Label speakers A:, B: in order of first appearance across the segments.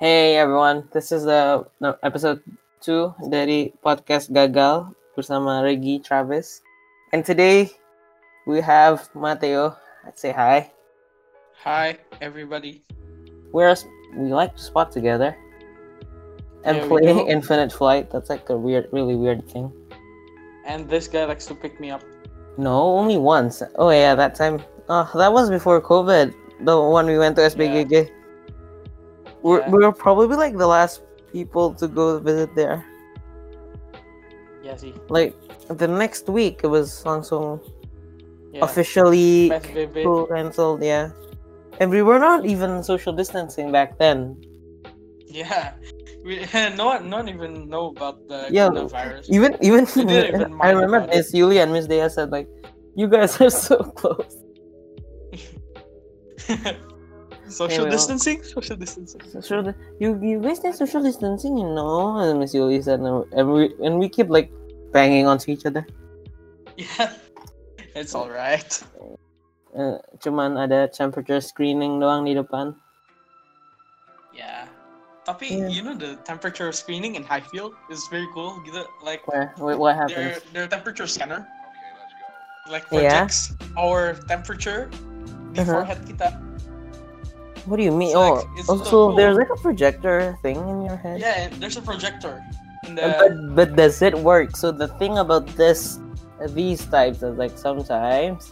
A: Hey everyone, this is the no, episode 2 dari podcast Gagal bersama Regi Travis. And today we have Mateo. Say hi.
B: Hi, everybody.
A: We're we like to spot together and
B: Yeah, we
A: play
B: do.
A: Infinite Flight. That's like a weird, really weird thing.
B: And this guy likes to pick me up.
A: No, only once. Oh yeah, that time. Oh, that was before COVID. The one we went to SBGG. We're,
B: Yeah.
A: we were probably like the last people to go visit there.
B: Yeah, see.
A: Like the next week, it was Samsung Oh,
B: Yeah.
A: officially
B: Best baby.
A: school canceled. Yeah, and we were not even social distancing back then.
B: Yeah. We, no one, no one even know about the
A: Yeah.
B: coronavirus.
A: Even even
B: We didn't even
A: I
B: mind
A: remember
B: about it.
A: Miss Yuli and Miss Dea said like, "You guys are so close."
B: social
A: well.
B: distancing? Social distancing.
A: social di- you you guys need social distancing you know and miss Yuli said no and we and we keep like banging onto each other
B: Yeah. It's alright.
A: uh, cuman ada temperature screening doang di depan
B: Yeah. Tapi,
A: Yeah.
B: you know, the temperature screening in Highfield is very cool. Gitu, Like,
A: where wait, what
B: their,
A: happens
B: their temperature scanner. Like,
A: Yeah.
B: projects our temperature di
A: Uh-huh.
B: forehead kita.
A: what do you mean
B: It's
A: oh
B: like- it's
A: oh,
B: so
A: so
B: cool.
A: there's like a projector thing in your head
B: Yeah, and there's a projector in the
A: Uh, but but does it work so the thing about this these types is like sometimes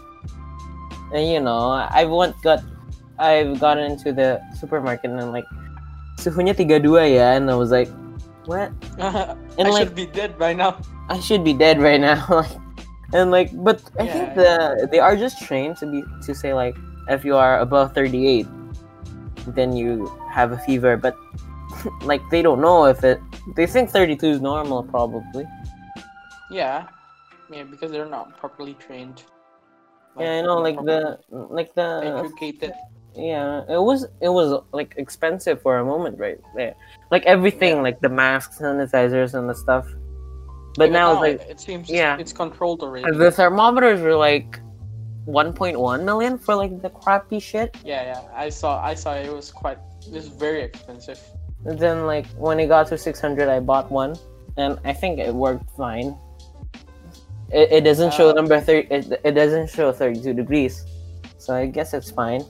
A: and you know i once got i've gotten into the supermarket and I'm like suhunya 32 ya and i was like what
B: I
A: and like
B: should be dead by now.
A: I should be dead right now. like, and like, but I
B: Yeah,
A: think the they are just trained to be to say like, if you are above thirty eight, then you have a fever. But like, they don't know if it. They think thirty two is normal, probably.
B: Yeah. Yeah, because they're not properly trained.
A: yeah, I know.
B: not
A: Like
B: properly
A: the like the uh,
B: educated.
A: yeah. It was it was like expensive for a moment, right? there. Like everything,
B: Yeah.
A: like the masks, sanitizers, and the stuff. But
B: Even
A: now it's like
B: it- it seems
A: yeah.
B: it's controlled already.
A: And the thermometers were like 1.1 million for like the crappy shit.
B: Yeah, yeah. I saw I saw it was quite it was very expensive.
A: And then like when it got to 600, I bought one, and I think it worked fine. It, it doesn't show
B: Uh,
A: number 30. It, it doesn't show 32 degrees, so I guess it's fine.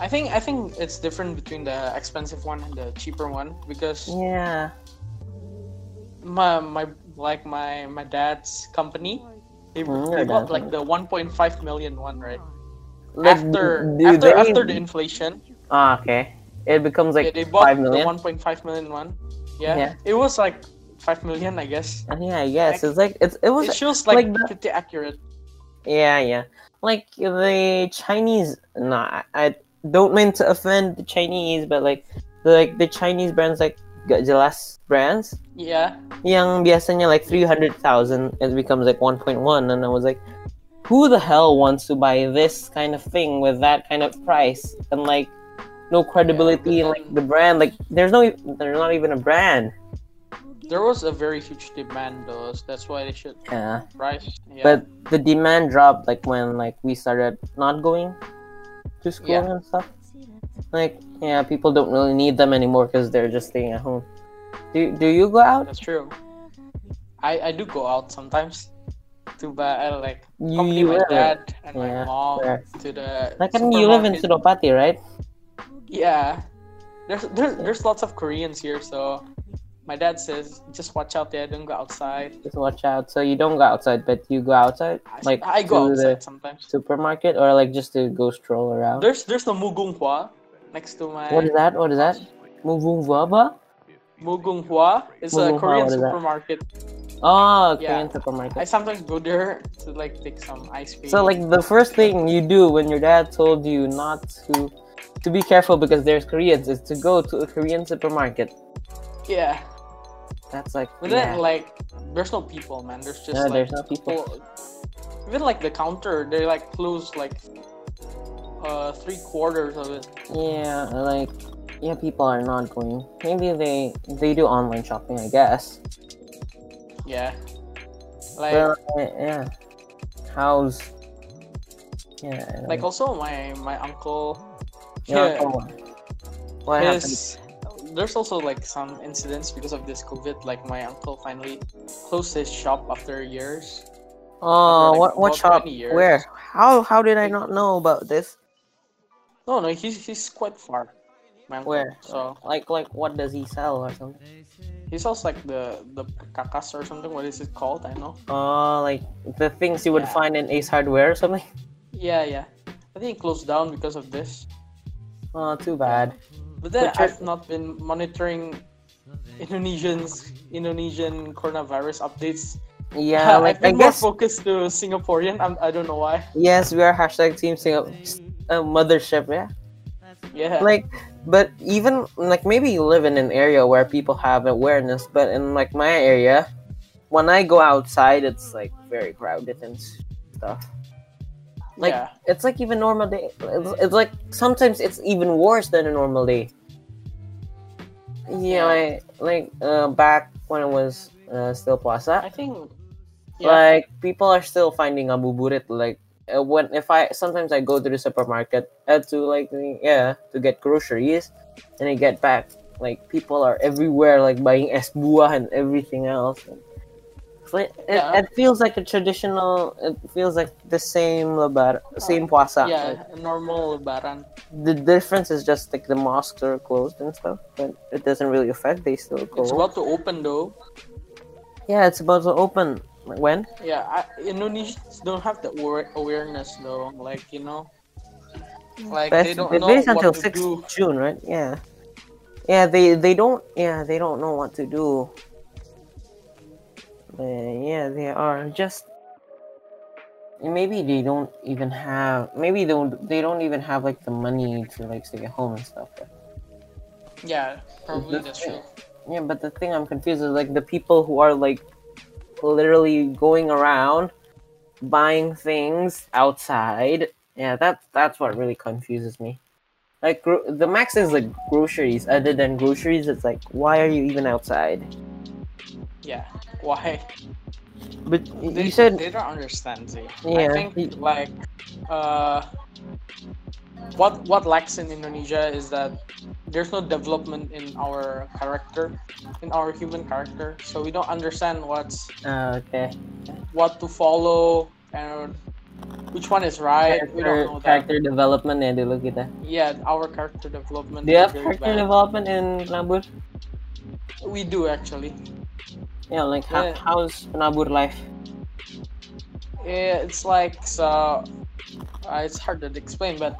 B: I think I think it's different between the expensive one and the cheaper one because
A: Yeah. Mm.
B: my my like my my dad's company they,
A: Mm,
B: they
A: your
B: bought
A: dad's
B: like the 1.5 million one right
A: Like,
B: after
A: do
B: after,
A: they-
B: after the inflation
A: Ah, okay. It becomes like
B: yeah, they bought
A: five million.
B: the 1.5 million one. Yeah.
A: Yeah.
B: It was like 5 million, I guess.
A: Uh, yeah, I guess it's like it's, it was
B: It feels like,
A: like the-
B: pretty accurate.
A: Yeah, yeah. Like the Chinese, nah, I don't mean to offend the Chinese, but like, the, like the Chinese brands, like gak jelas brands,
B: Yeah.
A: yang biasanya like three hundred thousand, it becomes like one point one, and I was like, who the hell wants to buy this kind of thing with that kind of price and like no credibility and
B: Yeah, but
A: like the brand, like there's no, e, there's not even a brand.
B: There was a very huge demand, though. so that's why they should
A: Yeah.
B: price. Yeah.
A: But the demand dropped like when like we started not going to school
B: Yeah.
A: and stuff. Like yeah, people don't really need them anymore because they're just staying at home. Do do you go out?
B: that's true. I, I do go out sometimes to buy, uh, like,
A: You,
B: accompany
A: you
B: my
A: live
B: dad and
A: Yeah,
B: my mom
A: fair.
B: to the.
A: like I mean, you live in Sudopati,
B: supermarket.
A: right?
B: Yeah. There's, there's, there's lots of Koreans here, so my dad says, just watch out there, don't go outside.
A: Just watch out. So you don't go outside, but you go outside
B: I,
A: like
B: I go
A: to the
B: outside sometimes.
A: supermarket or like just to go stroll around.
B: There's there's the Mugunghwa next to my
A: What is that? What is that? Muvungwaba?
B: Mugunghwa. It's a
A: Mugunghwa,
B: Korean
A: what is that?
B: supermarket.
A: Oh,
B: Yeah.
A: Korean supermarket.
B: I sometimes go there to like take some ice cream.
A: So like the first thing you do when your dad told you not to to be careful because there's Koreans is to go to a Korean supermarket.
B: yeah,
A: That's like
B: but
A: yeah.
B: then like there's no people, man. There's just
A: No,
B: like
A: there's no people.
B: full- even like the counter, they like close like uh three quarters of it.
A: yeah, like yeah, people are not going. Maybe they they do online shopping, I guess.
B: Yeah, like
A: But, uh, yeah, how's yeah I don't
B: like also my my uncle.
A: know.
B: yeah,
A: Your uncle- What happened?
B: Because there's also like some incidents because of this COVID. Like my uncle finally closed his shop after years.
A: Oh,
B: like,
A: what what shop?
B: about 20 years.
A: Where? How how did I not know about this?
B: No, no, he's he's quite far. My uncle.
A: Where?
B: So
A: Like like what does he sell or something?
B: he sells like the the kakas or something. What is it called? I know.
A: Oh, like the things you would
B: Yeah.
A: find in Ace Hardware or something.
B: Yeah, yeah. I think it closed down because of this.
A: Oh, too bad.
B: But then
A: Which are-
B: I've not been monitoring Indonesians Indonesian coronavirus updates.
A: Yeah,
B: I've
A: like I
B: been more
A: guess
B: focused to Singaporean. I'm, I don't know why.
A: yes, we are hashtag Team Singapore uh, mothership. Yeah.
B: Yeah.
A: like but even like maybe you live in an area where people have awareness but in like my area when i go outside it's like very crowded and stuff like
B: yeah.
A: it's like even normal day it's, it's like sometimes it's even worse than a normal day yeah I, like uh, back when it was uh, still plaza
B: I think.
A: like people are still finding abuburit like uh, when if i sometimes i go to the supermarket uh, to like the- yeah to get groceries and i get back like people are everywhere like buying es buah and everything else It's like- it,
B: Yeah.
A: it feels like a traditional it feels like the same lebar same puasa
B: yeah, a normal Lebaran.
A: Like, the difference is just like the mosques are closed and stuff but it doesn't really affect they still go
B: It's about to open though.
A: yeah it's about to open Like, when
B: Yeah, I, Indonesians don't have the aware- awareness though. Like you know, like
A: But
B: they don't
A: it
B: know
A: varies until
B: what to
A: 6th
B: do.
A: June, right? Yeah. Yeah, they they don't yeah, they don't know what to do. Uh, yeah, they are just maybe they don't even have maybe they don't they don't even have like the money to like stay at home and stuff.
B: Yeah, probably
A: That's
B: that's true.
A: Yeah, but the thing I'm confused is like the people who are like literally going around buying things outside. Yeah, that that's what really confuses me. Like gro- the max is like groceries. Other than groceries, it's like why are you even outside?
B: Yeah, why?
A: But y- you
B: They,
A: said
B: they don't understand. See.
A: Yeah,
B: I think
A: he-
B: like uh, what what lacks in Indonesia is that there's no development in our character, in our human character. So we don't understand what's
A: uh, okay.
B: what to follow and which one is right. we don't
A: Character,
B: know that.
A: character development and they look at that.
B: Yeah, our character development.
A: Do you have
B: is really
A: character
B: bad.
A: development in Nabur?
B: We do actually.
A: Yeah, like how,
B: Yeah.
A: how's Nabur life?
B: Eh, It's like so. Uh, it's hard to explain, but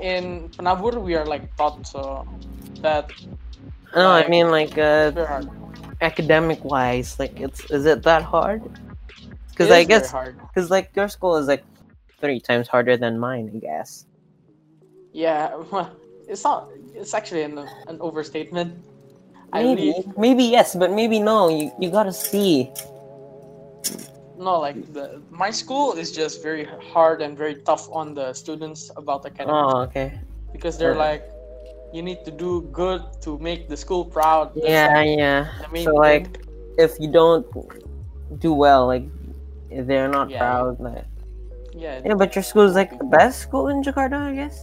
B: in Penabur we are like taught so that
A: No, I
B: Like-
A: mean like uh,
B: very hard.
A: academic wise like it's is it that hard because
B: It
A: i
B: is very
A: guess
B: hard.
A: because like your school is like three times harder than mine i guess
B: Yeah, it's not. It's actually an, an overstatement. I
A: maybe
B: really
A: maybe yes but maybe no you, you gotta see
B: no like the my school is just very hard and very tough on the students about academics.
A: oh okay
B: because they're
A: Yeah.
B: like you need to do good to make the school proud That's
A: yeah
B: like
A: yeah
B: the main
A: so
B: thing.
A: like if you don't do well like they're not
B: Yeah.
A: proud like
B: yeah
A: yeah but your school is like the best school in jakarta i guess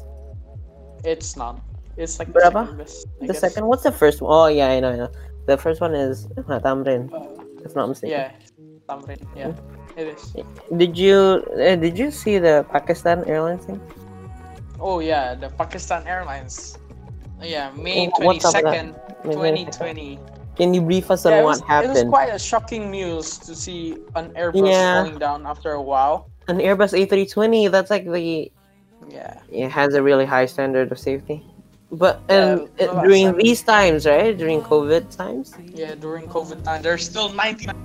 B: it's not it's like
A: Berapa?
B: the second best, I
A: the
B: guess.
A: second what's the first one? Oh yeah i know i know the first one is tamrin
B: Uh,
A: if not mistaken
B: yeah Tamrin, yeah it is
A: Did you uh, did you see the Pakistan Airlines thing?
B: oh yeah the pakistan airlines yeah may
A: Oh, what's up with
B: 22nd
A: Wait, wait a second.
B: 2020
A: Can you brief us on
B: yeah, it,
A: what
B: was, it was
A: happened?
B: quite a shocking news to see an airbus
A: Yeah.
B: falling down after a while
A: An Airbus A320. That's like the
B: yeah
A: it has a really high standard of safety. But and uh,
B: Yeah, well,
A: during
B: that's-
A: these times, right? During COVID times,
B: yeah during covid time there's still 99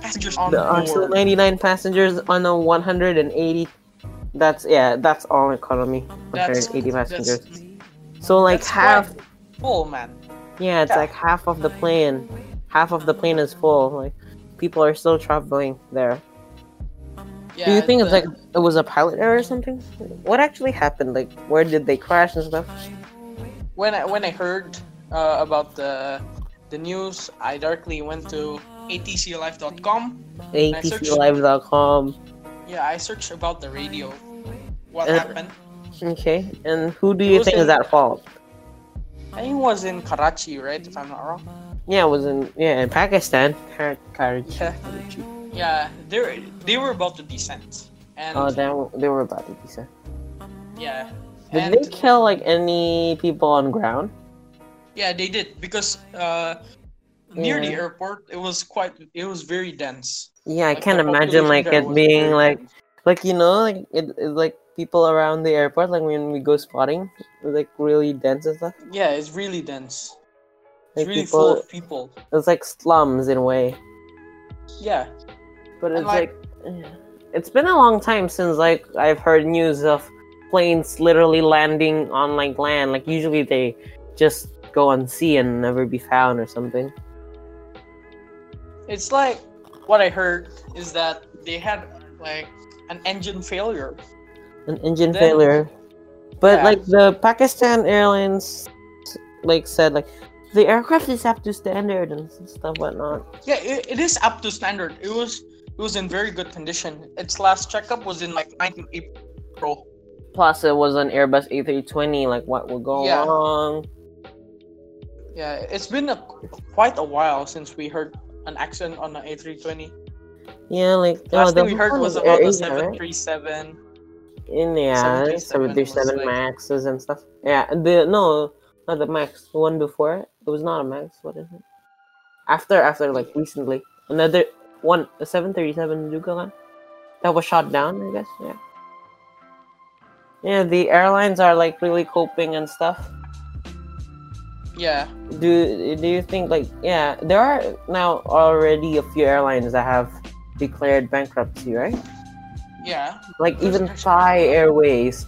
B: passengers on
A: there are
B: board
A: still 99 passengers on a 180. That's yeah. That's all economy. 180 passengers. So like
B: that's
A: half.
B: quite full Oh, man
A: Yeah, it's
B: Yeah.
A: like half of the plane. Half of the plane is full. Like people are still traveling there. Do you
B: Yeah, uh,
A: think it's
B: the-
A: like it was a pilot error or something? What actually happened? Like where did they crash and stuff?
B: when I when I heard uh, about the the news, I directly went to atclife.com.
A: ATClive.com.
B: Yeah, I searched about the radio. What
A: Uh,
B: happened?
A: Okay, and who do you
B: Who's
A: think
B: in-
A: is at fault?
B: I think it was in Karachi, right? If I'm not wrong.
A: Yeah, it was in yeah in Pakistan. Kar- Karachi.
B: Yeah. Yeah. They they were about to descend, and
A: Oh, they were, they were about to be sent.
B: yeah.
A: Did
B: and,
A: they kill like any people on ground?
B: Yeah, they did because uh, near the
A: Yeah.
B: airport, it was quite, it was very dense.
A: Yeah, I
B: Like,
A: can't
B: the
A: imagine
B: population
A: like
B: there
A: it
B: was
A: being
B: very
A: like
B: dense.
A: like you know like it, it like people around the airport like when we go spotting like really dense and stuff.
B: Yeah, it's really dense.
A: Like
B: It's really
A: people,
B: full of people.
A: it's like slums in a way.
B: Yeah,
A: But
B: And,
A: it's like, eh. it's been a long time since like I've heard news of planes literally landing on like land. Like usually they just go on sea and never be found or something.
B: it's like what I heard is that they had like an engine failure.
A: An engine
B: Then-
A: failure. But
B: Yeah.
A: like the Pakistan Airlines like said like the aircraft is up to standard and stuff whatnot.
B: Yeah, it, it is up to standard. It was it was in very good condition. Its last checkup was in like 19 April.
A: Plus it was an Airbus A320. Like what will go
B: Yeah.
A: wrong?
B: Yeah, it's been a, quite a while since we heard an accident on the A320.
A: Yeah, like oh,
B: Last
A: the
B: thing we heard
A: one
B: was
A: with
B: about
A: Air
B: the
A: Asia, right?
B: 737.
A: In yeah,
B: 737
A: 737
B: was like-
A: Maxes and stuff. Yeah, the no, not the Max. The one before it. it was not a Max. What is it? After, after like recently, another one, a 737 Dugalan, that was shot down. I guess. Yeah. Yeah, the airlines are like really coping and stuff.
B: Yeah,
A: Do do you think like yeah, there are now already a few airlines that have declared bankruptcy, right?
B: yeah,
A: Like
B: There's
A: even
B: actually-
A: Thai Airways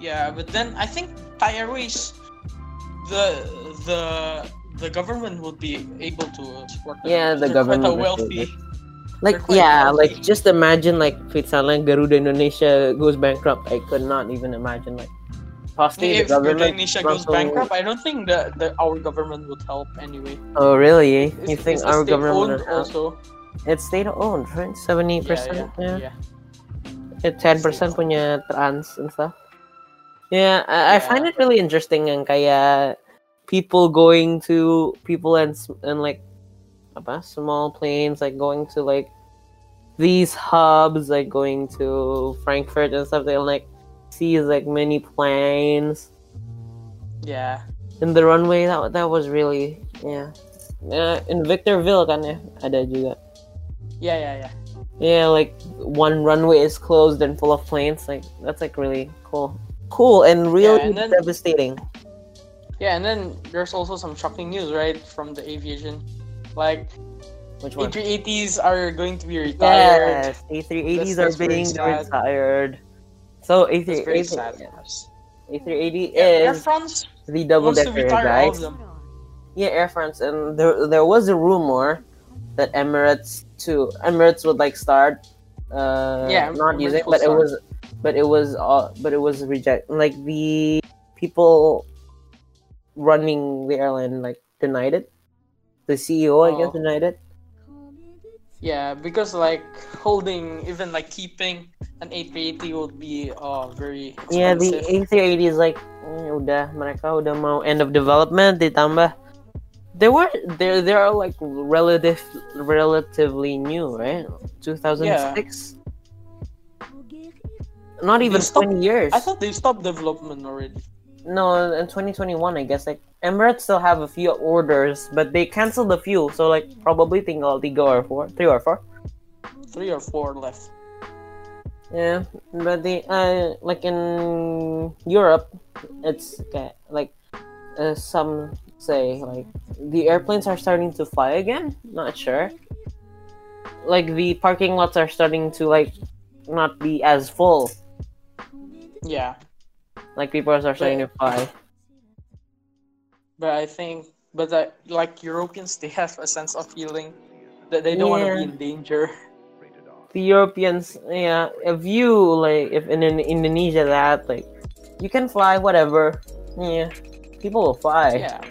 B: yeah. But then I think Thai Airways, the the the government would be able to support them.
A: Yeah, the
B: They're
A: government
B: Quite a
A: would be
B: wealthy.
A: Like
B: They're quite
A: yeah,
B: wealthy.
A: like just imagine like Pitsalan Garuda Indonesia goes bankrupt. I could not even imagine like possibly the
B: If
A: government.
B: Indonesia goes
A: also-
B: bankrupt, I don't think the, the our government would help anyway.
A: Oh really?
B: It's-
A: You think
B: it's
A: our
B: state-owned
A: government? Also.
B: also?
A: It's state owned, right? Seventy
B: Yeah,
A: percent.
B: yeah,
A: Yeah.
B: yeah.
A: It's ten percent punya trans and stuff. Yeah, I, I find
B: Yeah.
A: it really interesting and kaya people going to people and s- and like apa, small planes like going to like these hubs like going to Frankfurt and stuff. They like see like many planes
B: Yeah.
A: in the runway. That that was really yeah. Yeah, in Victorville kan ya ada juga.
B: Yeah, yeah, yeah.
A: Yeah, like one runway is closed and full of planes. Like that's like really cool, cool and really
B: and then-
A: devastating.
B: Yeah, and then there's also some shocking news, right, from the aviation. Like
A: Which one?
B: A380s are going to be retired.
A: Yes, A380s
B: That's- that's
A: are
B: very
A: being
B: sad.
A: retired. So A380,
B: It's very sad.
A: A380
B: Yeah, Air
A: is
B: France
A: the double
B: wants to
A: decker,
B: retire all of
A: guys.
B: them.
A: Yeah, Air France, and there there was a rumor that Emirates to Emirates would like start, uh,
B: Yeah,
A: not
B: Emirates
A: using,
B: will
A: but it
B: start.
A: was, but it was all, but it was reject. Like the people running the airline like denied it. The CEO, I guess,
B: Oh.
A: denied it.
B: Yeah, because like holding, even like keeping an A380 would be uh very expensive.
A: Yeah, the A380 E is like eh, udah mereka udah mau end of development ditambah they were they they are like relative relatively new right 2006 not even
B: They stopped-
A: 20 years
B: I thought they stopped development already.
A: no in 2021 I guess like Emirates still have a few orders but they canceled a few so like probably tinggal tiga or four three or four
B: Three or four left.
A: Yeah, but the uh, like in Europe, it's okay, like uh, some say like the airplanes are starting to fly again. Not sure. Like the parking lots are starting to like not be as full.
B: Yeah,
A: Like people are starting to fly.
B: but I think, but that like Europeans, they have a sense of feeling that they don't want
A: Yeah.
B: to be in danger.
A: The Europeans, yeah, if you like, if in, in Indonesia that like, you can fly whatever. Yeah, people will fly.
B: Yeah,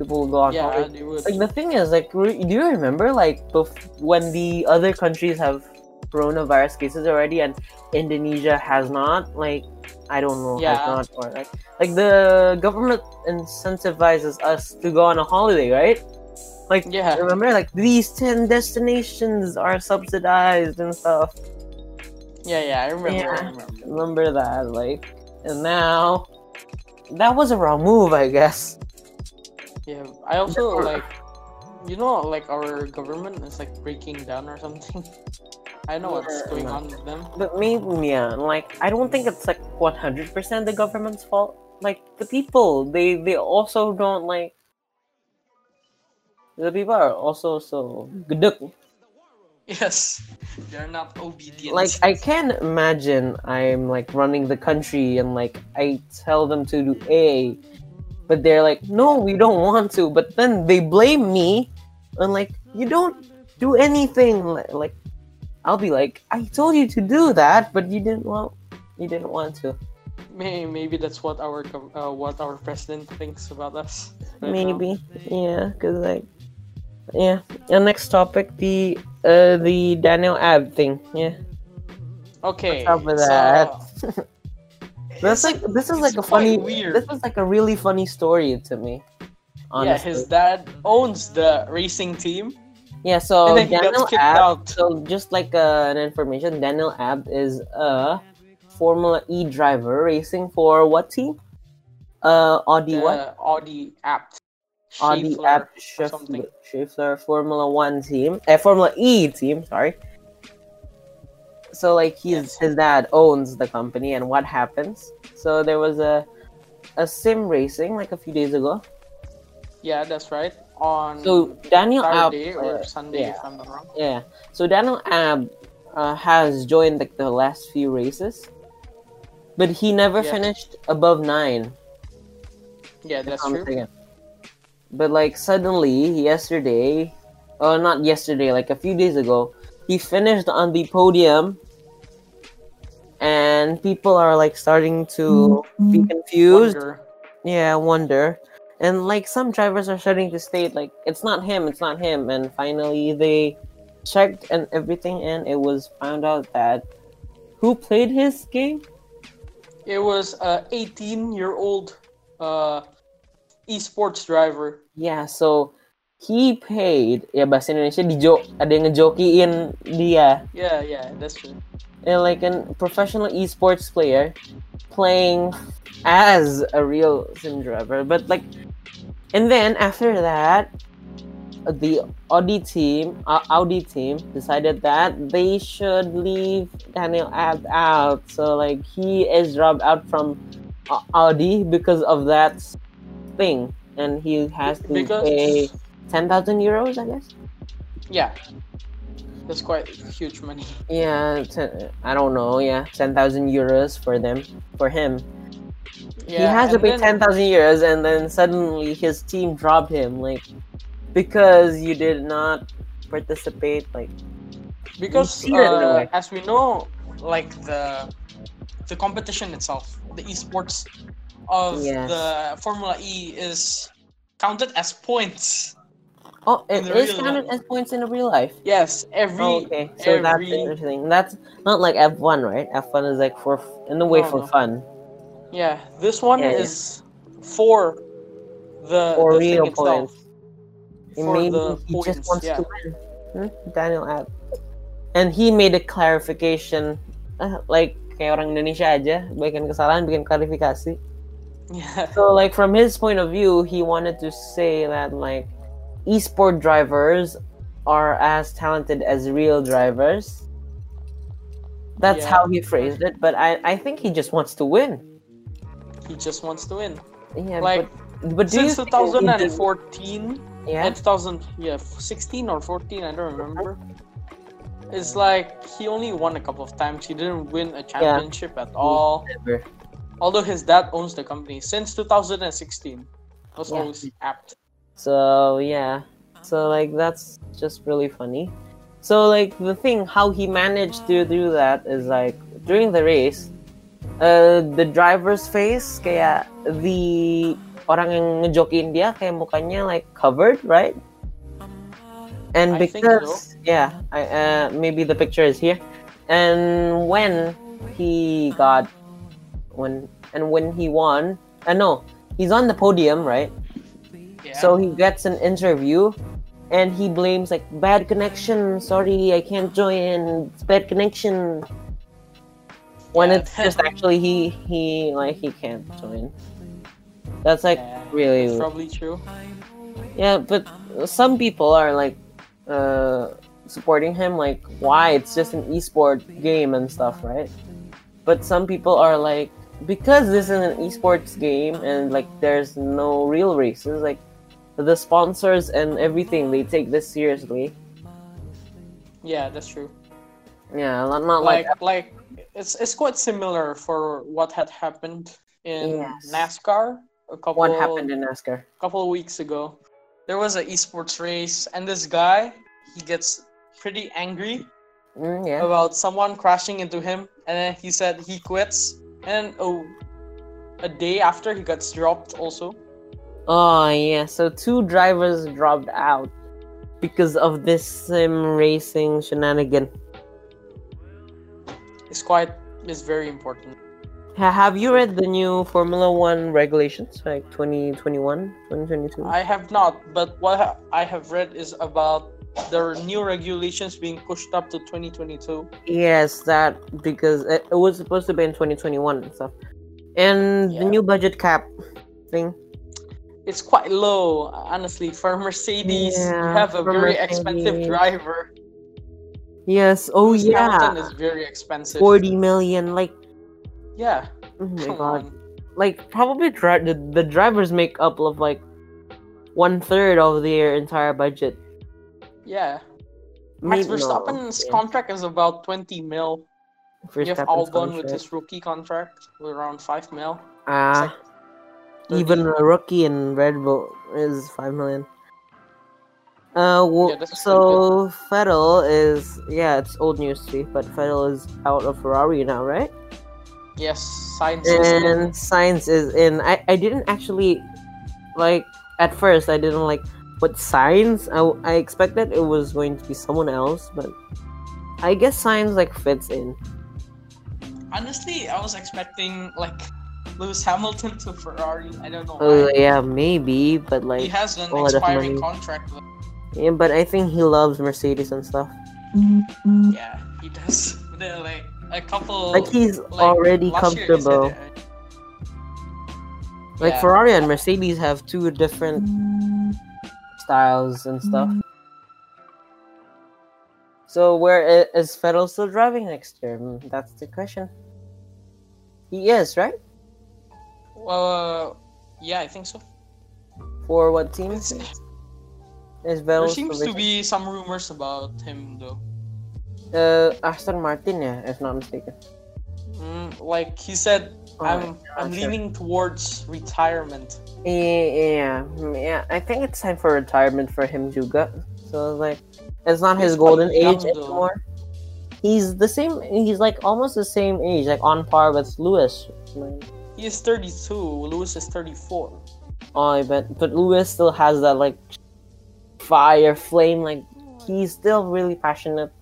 A: People will go on
B: yeah,
A: holiday.
B: they would.
A: like the thing is like re- do you remember like bef- when the other countries have coronavirus cases already and Indonesia has not. Like I don't know, has
B: Yeah.
A: not or like like the government incentivizes us to go on a holiday, right? Like
B: Yeah.
A: remember, like these ten destinations are subsidized and stuff.
B: Yeah, yeah, I remember. I
A: Yeah.
B: remember.
A: Remember that, like, and now that was a wrong move, I guess.
B: Yeah, I also like, you know, like our government is like breaking down or something. I know what's
A: Yeah.
B: going on with them.
A: But maybe, yeah, like, I don't think it's like one hundred percent the government's fault. Like the people, they they also don't like. The people are also so gedek.
B: Yes, they're not obedient.
A: Like I can imagine I'm like running the country and like I tell them to do A, but they're like, no, we don't want to. But then they blame me, and like you don't do anything. Li- Like I'll be like, I told you to do that, but you didn't want. You didn't want to.
B: May- maybe that's what our gov- uh, what our president thinks about us. right now.
A: Maybe, yeah, cause like, yeah. And next topic, the uh the Daniel Ab thing. Yeah,
B: Okay.
A: up with
B: so-
A: that? that's
B: It's-
A: like this is
B: it's
A: like a funny.
B: quite weird.
A: This is like a really funny story to me.
B: yeah,
A: Honestly.
B: his dad owns the racing team,
A: Yeah, so
B: and then he
A: Oh, Daniel
B: got kicked
A: Ab.
B: out.
A: So just like uh, an information, Daniel Ab is a Formula E driver racing for what team? Uh, Audi
B: The
A: what?
B: Audi apt.
A: Audi Ab
B: Schaeffler or something.
A: Schaeffler, Schaeffler Formula One team, uh, Formula E team. Sorry. So like he's
B: Yes.
A: his dad owns the company, and what happens? So there was a a sim racing like a few days ago.
B: Yeah, that's right. On
A: So Daniel Ab.
B: Mm-hmm. Saturday
A: uh,
B: or Sunday,
A: yeah.
B: if I'm not wrong.
A: Yeah. So Daniel Ab uh, has joined like the last few races, but he never
B: Yeah.
A: finished above nine.
B: Yeah, that's
A: Um,
B: true.
A: again. But like suddenly yesterday, oh not yesterday, like a few days ago, he finished on the podium, and people are like starting to be confused.
B: Mm-hmm. Wonder.
A: Yeah, I wonder. And like some drivers are starting to state like it's not him, it's not him. And finally they checked and everything and it was found out that who played his game?
B: It was a 18 year old uh, esports driver.
A: Yeah, Iya, so he paid ya bahasa Indonesia dijo ada yang ngejokiin dia.
B: Yeah, yeah, that's true.
A: And like a professional esports player playing as a real sim driver. But like, and then after that, the Audi team, uh, Audi team, decided that they should leave Daniel Ab out. So like, he is dropped out from uh, Audi because of that thing, and he has to
B: Because
A: pay ten thousand euros, I guess.
B: yeah, that's quite huge money.
A: Yeah, 10, I don't know. Yeah, ten thousand euros for them, for him.
B: Yeah,
A: he has to
B: and
A: pay
B: then-
A: 10,000 euros and then suddenly his team dropped him like because you did not participate like
B: because
A: You see that in a
B: uh,
A: way.
B: as we know like the the competition itself the esports of
A: Yes.
B: the formula e is counted as points
A: oh it
B: the
A: is
B: real
A: counted
B: life.
A: as points in real life
B: yes every
A: oh, okay so that's
B: every-
A: interesting that's not like f1 right f1 is like for in the way
B: No,
A: for
B: no.
A: fun
B: yeah this one
A: Yeah, yeah.
B: is for the,
A: For
B: the
A: real
B: thing itself
A: And
B: for
A: maybe
B: the
A: he
B: points
A: just wants
B: yeah
A: to win hmm? daniel app and he made a clarification uh, like kayak orang Indonesia aja bikin kesalahan bikin klarifikasi
B: yeah
A: So, like from his point of view, he wanted to say that like esport drivers are as talented as real drivers. That's
B: Yeah.
A: how he phrased it, but I, I think he just wants to win.
B: he just wants to win
A: Yeah,
B: like
A: but, but do you
B: since
A: think he did-
B: 2014
A: yeah,
B: yeah. 2000 yeah 16 or 14 i don't remember it's like he only won a couple of times he didn't win a championship at all
A: never.
B: although his dad owns the company since 2016 was
A: Yeah.
B: always apt
A: So yeah, so like that's just really funny. So like the thing how he managed to do that is like during the race, uh, the driver's face kayak the orang yang ngejokin dia kayak mukanya like covered right? And
B: I think
A: because yeah, I, uh, maybe the picture is here. and when he got when and when he won and no he's on the podium right
B: Yeah.
A: so he gets an interview and he blames like bad connection sorry i can't join it's bad connection when
B: Yeah.
A: it's just actually he he like he can't join that's like
B: Yeah,
A: really
B: that's probably true.
A: yeah, but some people are like uh, supporting him, like why it's just an esport game and stuff, right? But some people are like because this is an esports game and like there's no real races, like the sponsors and everything they take this seriously.
B: Yeah, that's true.
A: Yeah, not, not like,
B: like like it's it's quite similar for what had happened in
A: Yes.
B: NASCAR a couple
A: what happened in NASCAR.
B: couple of weeks ago. There was an esports race and this guy he gets pretty angry
A: Mm, yeah,
B: about someone crashing into him and then he said he quits and oh a day after he gets dropped also.
A: Oh yeah, so two drivers dropped out because of this sim racing shenanigan.
B: It's quite it's very important.
A: Ha- Have you read the new Formula One regulations, like 2021, 2022?
B: I have not, but what ha- I have read is about the new regulations being pushed up to 2022.
A: yes, that because it, it was supposed to be in 2021 and stuff. And the
B: Yeah.
A: new budget cap thing.
B: It's quite low, honestly, for Mercedes.
A: Yeah,
B: you have a
A: for
B: very
A: Mercedes.
B: expensive driver.
A: Yes, oh
B: Lewis Hamilton
A: yeah.
B: is very expensive.
A: 40 million, like,
B: Yeah,
A: oh my
B: come
A: god.
B: on.
A: Like, probably dri- the, the drivers make up of like one third of their entire budget.
B: Yeah, Max
A: Maybe- no,
B: Verstappen's
A: yeah,
B: contract is about 20 mil. You have
A: Verstappen's
B: Albon with
A: contract.
B: his rookie contract, with around 5 mil. It's
A: Ah.
B: like 30.
A: even a rookie in Red Bull is five million. Uh, well,
B: Yeah, that's
A: so Fettel is yeah, it's old news to me, but Fettel is out of Ferrari now, right?
B: Yes, science
A: And Science is in. I I didn't actually like at first. I didn't like what Science. I I expected it was going to be someone else, but I guess Science like fits in.
B: Honestly, I was expecting like Lewis Hamilton to Ferrari. I don't know.
A: Oh
B: why.
A: yeah, maybe, but like oh,
B: he has an
A: all that money.
B: expiring contract. but-
A: yeah, but I think he loves Mercedes and stuff.
B: Yeah, he does. There are, like a couple.
A: Like he's
B: like,
A: already
B: last year he said
A: comfortable.
B: that-
A: Like
B: Yeah.
A: Ferrari and Mercedes have two different styles and stuff. So where i- is Vettel still driving next year? Hmm, That's the question. He is right
B: Well, uh, yeah, I think so.
A: for what team
B: It's-
A: is Vettel? still
B: there seems to
A: racing?
B: be some rumors about him though.
A: uh, Aston Martin, yeah, if not mistaken.
B: Mm, like he said,
A: Oh,
B: I'm I'm
A: sure.
B: leaning towards retirement.
A: Yeah, yeah, hmm, yeah. I think it's time for retirement for him, Juga. So like, it's not his
B: He's quite
A: golden age
B: young, though.
A: anymore. He's the same. He's like almost the same age, like on par with Lewis. Like,
B: He is 32. Lewis is 34.
A: Oh, I bet. But Lewis still has that like fire flame. Like he's still really passionate.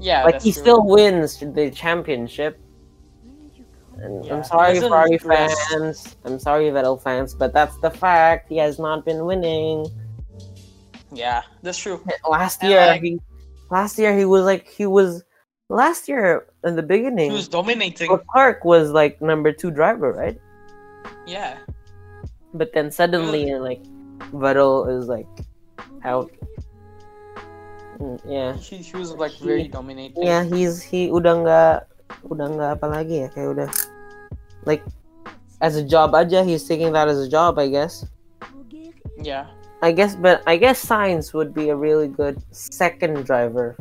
B: Yeah,
A: like
B: that's
A: he
B: true.
A: still wins the championship. And
B: Yeah,
A: I'm
B: he
A: sorry,
B: doesn't
A: Ferrari
B: regress.
A: fans. I'm sorry, Vettel fans, but that's the fact. He has not been winning.
B: Yeah, that's true.
A: Last
B: And,
A: year,
B: like-
A: he, last year he was like he was. Last year in the
B: He
A: beginning,
B: was dominating.
A: Clark was like number two driver, right?
B: Yeah.
A: But then suddenly, like Vettel is like out. Mm, Yeah.
B: He, he was like very dominating.
A: Yeah, he's he udah nggak udah nggak apa lagi ya kayak udah like as a job aja he's taking that as a job I guess
B: Yeah.
A: I guess but I guess science would be a really good second driver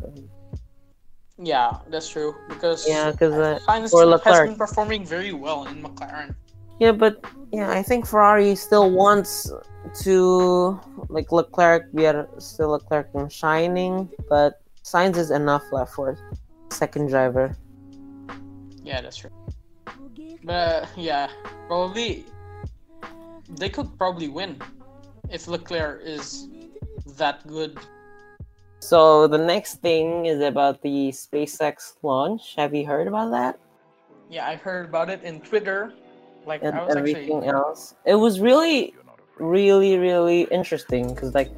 B: Yeah, that's true. Because
A: Yeah, 'cause, uh,
B: Sainz
A: or
B: has
A: Leclerc.
B: been performing very well in McLaren.
A: yeah but yeah I think Ferrari still wants to like Leclerc biar still Leclerc yang shining but science is enough left for second driver
B: Yeah, that's true. But uh, yeah, probably they could probably win if Leclerc is that good.
A: So the next thing is about the SpaceX launch. Have you heard about that?
B: Yeah, I heard about it in Twitter. Like
A: And
B: I was
A: everything
B: actually
A: else. It was really, really, really interesting because like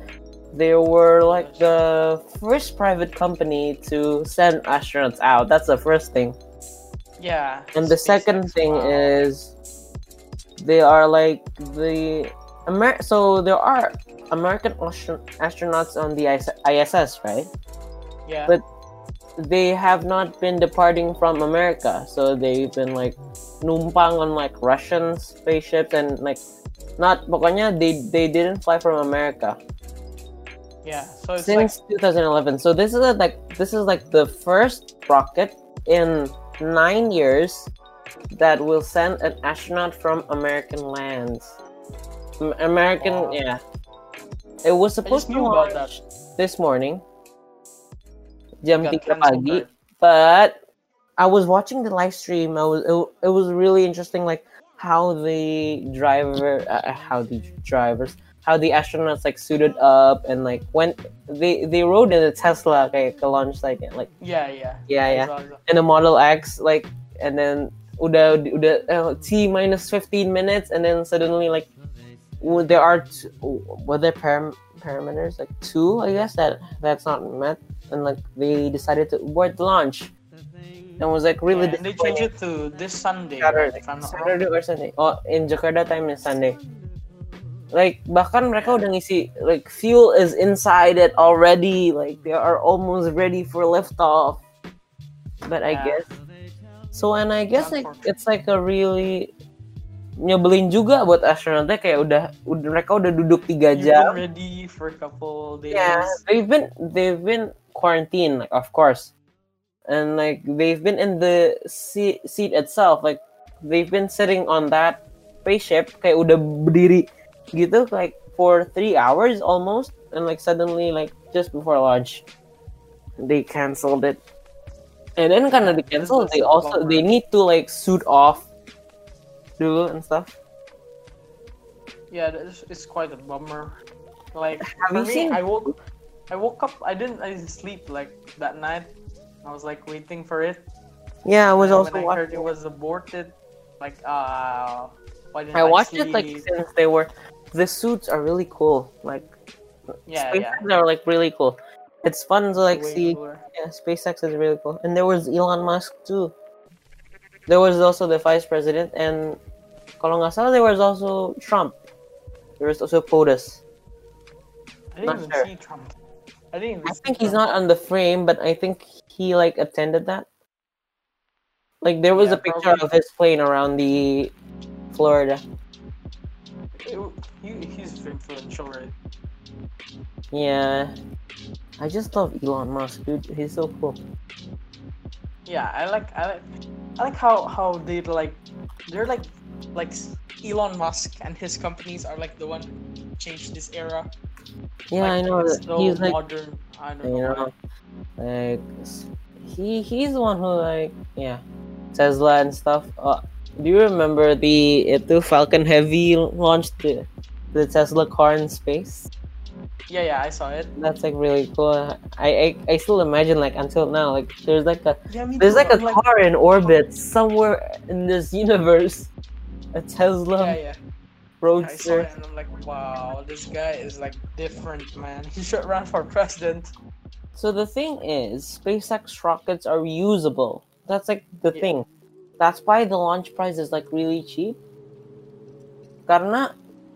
A: they were like the first private company to send astronauts out. That's the first thing.
B: yeah.
A: And the second
B: SpaceX,
A: thing
B: wow.
A: is they are like the Amer- so there are American astro- astronauts on the IS- ISS, right?
B: yeah,
A: but- They have not been departing from America, so they've been like numpang on like Russian spaceships and like not pokoknya they they didn't fly from America
B: yeah. So it's like
A: since 2011. So this is a, like this is like the first rocket in nine years that will send an astronaut from American lands. Am- American, yeah.
B: Wow.
A: It was
B: I just
A: supposed to
B: knew about
A: launch
B: that.
A: this morning, jam
B: Got
A: 3
B: cancelled,
A: pagi,
B: right?
A: but I was watching the live stream. I was it, it was really interesting, like how the driver, uh, how the drivers, how the astronauts like suited up and like when they they rode in a Tesla, kayak ke launch site, like
B: Yeah, yeah.
A: yeah yeah,
B: I saw-
A: and a Model X, like and then udah udah uh, T minus fifteen minutes, and then suddenly like w- there are t- were there param- parameters like two, I guess that that's not met, and like they decided to abort the launch, and was like really
B: Yeah, and they changed
A: disappointed.
B: it to this Sunday,
A: Saturday.
B: if I'm not wrong.
A: Saturday or Sunday. Oh, in Jakarta time is Sunday. Like bahkan mereka udah ngisi like fuel is inside it already. Like they are almost ready for liftoff. But I
B: Yeah.
A: guess so and I guess like
B: Unfortunate.
A: it's like a really nyebelin juga buat astronautnya kayak udah, udah mereka udah duduk tiga
B: You've
A: jam.
B: been ready for a couple days.
A: Yeah, they've been they've been quarantined, like, of course, and like they've been in the seat, seat itself. Like they've been sitting on that spaceship, kayak udah berdiri gitu, like for three hours almost, and like suddenly, like just before launch, they canceled it. And then kind of they
B: Yeah, this
A: cancel,
B: is
A: they
B: a
A: also
B: bummer.
A: they need to like suit off, dulu and stuff.
B: Yeah, it's, it's quite a bummer. Like
A: Have
B: for
A: you
B: me,
A: seen-
B: I woke, I woke up. I didn't. I didn't sleep like that night. I was like waiting for it.
A: Yeah, I was
B: And
A: also
B: when I heard
A: watching.
B: it was aborted, like uh, why didn't
A: I
B: I,
A: watched
B: sleep?
A: it like since they were. The suits are really cool. Like
B: yeah, yeah.
A: SpaceX are like really cool. It's fun to like
B: Way
A: see.
B: cooler.
A: Yeah, SpaceX is really cool. And there was Elon Musk too. There was also the vice president and kalau nggak salah, there was also Trump. There was also POTUS.
B: I didn't
A: Not
B: even
A: sure.
B: see Trump. I didn't. Even
A: I
B: see
A: think he's
B: Trump.
A: not on the frame, but I think he like attended that. Like there was
B: Yeah,
A: a picture
B: probably.
A: of his plane around the Florida.
B: He, he's influential, right?
A: Yeah. I just love Elon Musk, dude. He's so cool.
B: Yeah, I like I like I like how how they like they're like like Elon Musk and his companies are like the one who changed this era.
A: Yeah,
B: like,
A: I know.
B: It's
A: that
B: so
A: he's like
B: modern. I don't
A: you
B: know.
A: know like s- he he's the one who like yeah tesla and stuff uh, do you remember the itu falcon heavy launched the, the tesla car in space
B: Yeah, yeah, I saw it.
A: that's like really cool I, I i still imagine like until now like there's like a
B: Yeah, me
A: there's
B: too.
A: like a
B: I'm like,
A: car in orbit somewhere in this universe a tesla
B: Yeah, yeah. I saw
A: roadster
B: it and I'm like, wow, this guy is like different, man. He should run for president.
A: So the thing is, SpaceX rockets are reusable. That's like the
B: Yeah.
A: thing. That's why the launch price is like really cheap. Karena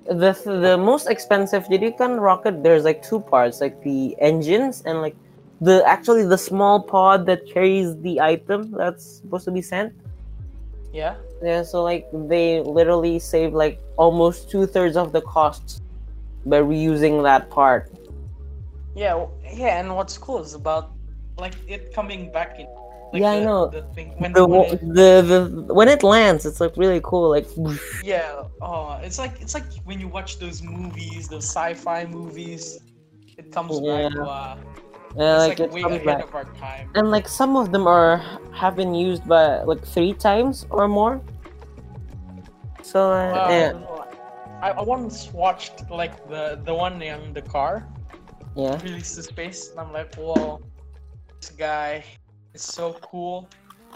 A: the the most expensive jadi kan rocket there's like two parts like the engines and like the actually the small pod that carries the item that's supposed to be sent.
B: Yeah.
A: Yeah, so like they literally save like almost two thirds of the cost by reusing that part.
B: Yeah, w- yeah, and what's cool is about like it coming back in. Like,
A: Yeah, I
B: the-
A: know.
B: The thing, when,
A: the,
B: when it-
A: the, the when it lands, it's like really cool. Like
B: Yeah, oh, it's like it's like when you watch those movies, those sci-fi movies. It comes
A: Yeah.
B: back. Wow,
A: yeah, like,
B: it's like,
A: it
B: way
A: comes
B: ahead
A: back.
B: of our time.
A: And like some of them are have been used by like three times or more. So uh,
B: Wow, I
A: yeah,
B: don't know. I, I once watched like the the one in the car.
A: Yeah.
B: released the space, and I'm like, whoa, this guy is so cool.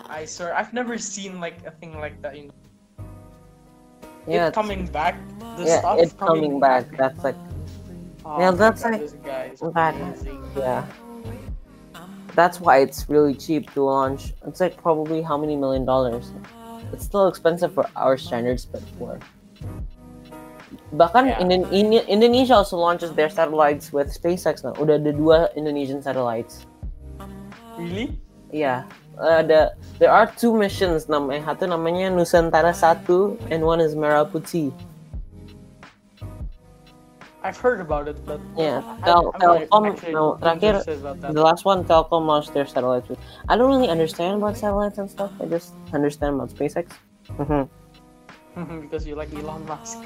B: I swear, I've never seen like a thing like that. You know,
A: Yeah.
B: it coming back. The
A: yeah,
B: stuff
A: it's coming back. That's like
B: Oh
A: Yeah,
B: my
A: that's
B: God,
A: like-
B: this guy is
A: that-
B: amazing.
A: yeah. That's why it's really cheap to launch. It's like probably how many million dollars? It's still expensive for our standards, but for bahkan
B: Yeah.
A: Indo- Indo- Indonesia also launches their satellites with SpaceX now. Udah ada dua Indonesian satellites.
B: Really?
A: Yeah. Ada there are two missions namanya satu namanya Nusantara 1 and one is Merah Putih.
B: I've heard about it, but
A: Yeah,
B: I-
A: Tel-
B: I'm like
A: Telkom,
B: actually
A: no, terakhir
B: interested about that.
A: The last one, Telkom launched their satellites. With, I don't really understand about satellites and stuff. I just understand about SpaceX. hmm
B: because you like Elon Musk.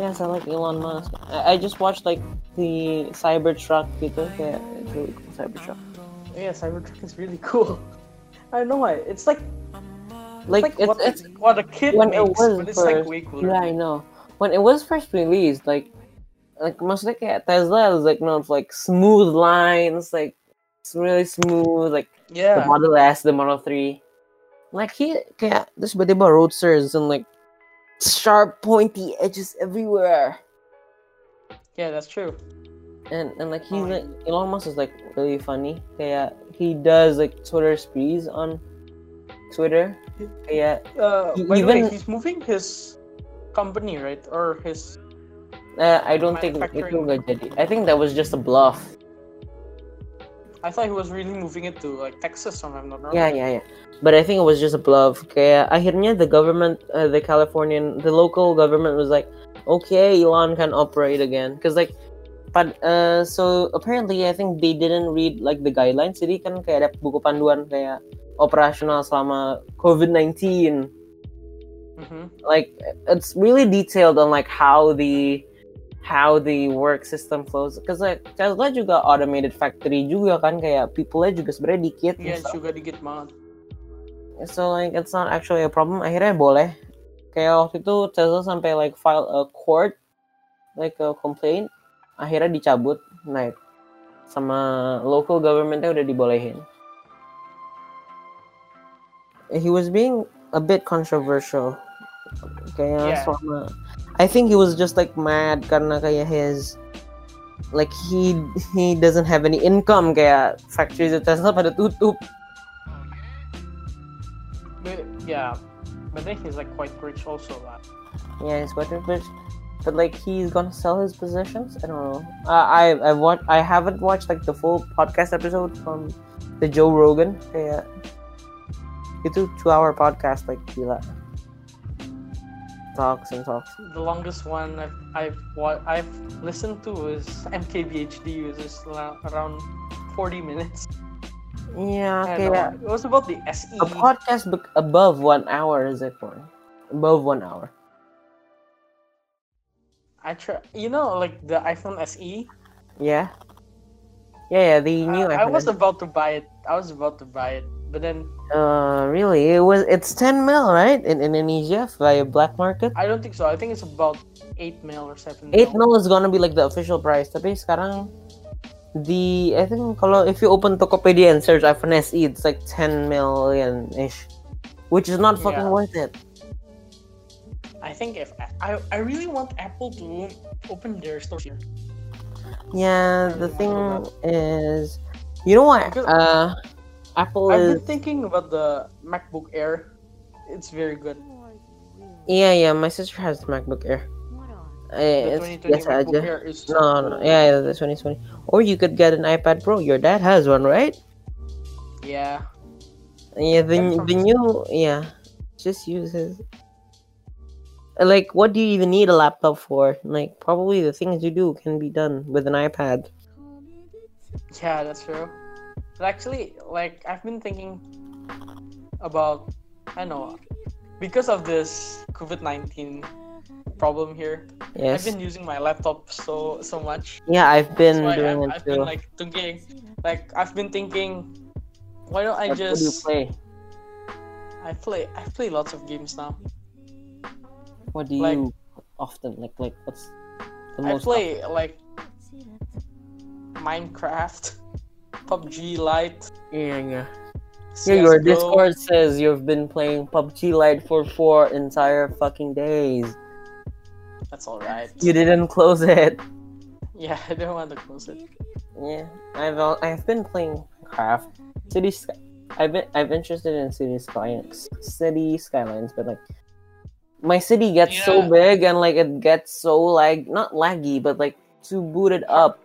A: Yes, I like Elon Musk. I, I just watched like the Cybertruck gitu. Kayak it's really cool Cybertruck.
B: Yeah, Cybertruck is really cool. I know it. It's like
A: Like,
B: what,
A: it's, it's
B: what a kid
A: when it
B: makes,
A: was
B: but it's like
A: first.
B: way cooler.
A: yeah, I know. When it was first released, like like maksudnya kayak Tesla is like no, it's like smooth lines, like it's really smooth, like the
B: Yeah,
A: Model S, the Model 3. Like he kayak terus tiba-tiba roadsters and like sharp pointy edges everywhere.
B: yeah, that's true.
A: And and like
B: Oh,
A: he's
B: yeah.
A: like Elon Musk is like really funny. Kayak he does like Twitter sprees on Twitter. Kayak
B: Uh,
A: He
B: by the
A: E
B: way,
A: even-
B: he's moving his company, right? Or his
A: uh, I don't think itu
B: Manufacturing.
A: nggak jadi. I think that was just a bluff.
B: I thought he was really moving it to like Texas, or I'm not wrong.
A: Yeah, yeah, yeah. But I think it was just a bluff. Kayak akhirnya the government, uh, the Californian, the local government was like, okay, Elon can operate again. Cause like, but uh, so apparently I think they didn't read like the guidelines. Jadi kan kayak ada buku panduan kayak operasional selama COVID-19.
B: hmm
A: Like it's really detailed on like how the how the work system flows. Cause like Tesla juga automated factory juga kan kayak people-nya juga sebenarnya dikit.
B: Yeah,
A: so-
B: juga dikit banget.
A: so like it's not actually a problem akhirnya boleh kayak waktu itu Tesla sampai like file a court like a complaint akhirnya dicabut naik sama local governmentnya udah dibolehin he was being a bit controversial kayak
B: Yeah.
A: selama I think he was just like mad karena kayak his like he he doesn't have any income kayak factories at Tesla pada tutup
B: But, yeah, but then he's like quite rich also. lah.
A: Yeah, he's quite rich, but like he's gonna sell his possessions. I don't know. Uh, I I've watched. I haven't watched like the full podcast episode from the Joe Rogan. Yeah, it's a two-hour podcast. Like he like talks and talks.
B: The longest one I've I've what I've listened to is MKBHD, which is la- around 40 minutes.
A: Yeah,
B: I
A: okay.
B: don't know.
A: Yeah.
B: It was about the E. SE.
A: A podcast bec- above one hour is it one? Above one hour.
B: I try, you know, like the iPhone E? SE.
A: Yeah. Yeah, yeah. The new.
B: Uh, I, I
A: iPhone
B: was
A: is-
B: about to buy it. I was about to buy it, but then
A: uh, really. It was. It's ten mil, right? In Indonesia via black market.
B: I don't think so. I think it's about eight mil or seven.
A: 8 mil is gonna be like the official price tapi sekarang the I think kalau if you open Tokopedia and search iPhone SE it's like 10 million ish which is not fucking
B: Yeah.
A: worth it
B: I think if I I really want Apple to open their store here.
A: yeah the
B: Yeah, I
A: thing
B: know
A: is you know what
B: Because-
A: uh Apple
B: I've
A: is
B: been thinking about the MacBook Air. It's very good.
A: yeah yeah my sister has the MacBook Air
B: The
A: Eh, it's
B: 2020
A: biasa aja
B: MacBook Air is
A: no
B: so
A: no
B: cool.
A: yeah, yeah the 2020 or you could get an iPad Pro your dad has one right
B: Yeah.
A: Yeah, the,
B: That's
A: n- the
B: something.
A: new yeah, just use his. Like, what do you even need a laptop for? Like, probably the things you do can be done with an iPad.
B: Yeah, that's true. But actually, like I've been thinking about I know because of this COVID nineteen problem here, I've
A: Yes.
B: been using my laptop so so much.
A: yeah, I've been
B: That's why
A: doing
B: I've,
A: it
B: I've
A: too.
B: been like thinking, like I've been thinking, why don't I
A: What- what do you
B: just
A: play?
B: I play I play lots of games now.
A: What do
B: like-
A: you often like? Like, what's the
B: I
A: most?
B: play like Minecraft, PUBG Lite.
A: Yeah, yeah. Yeah,
B: CS:GO.
A: your Discord says you've been playing PUBG Lite for four entire fucking days.
B: That's alright.
A: You didn't close it.
B: Yeah, I don't want to close it.
A: Yeah, I've al- I've been playing Craft City. Sky- I've been I've interested in City Skylines, City Skylines, but like my city gets so
B: Yeah.
A: big and like it gets so like not laggy, but like to boot it up,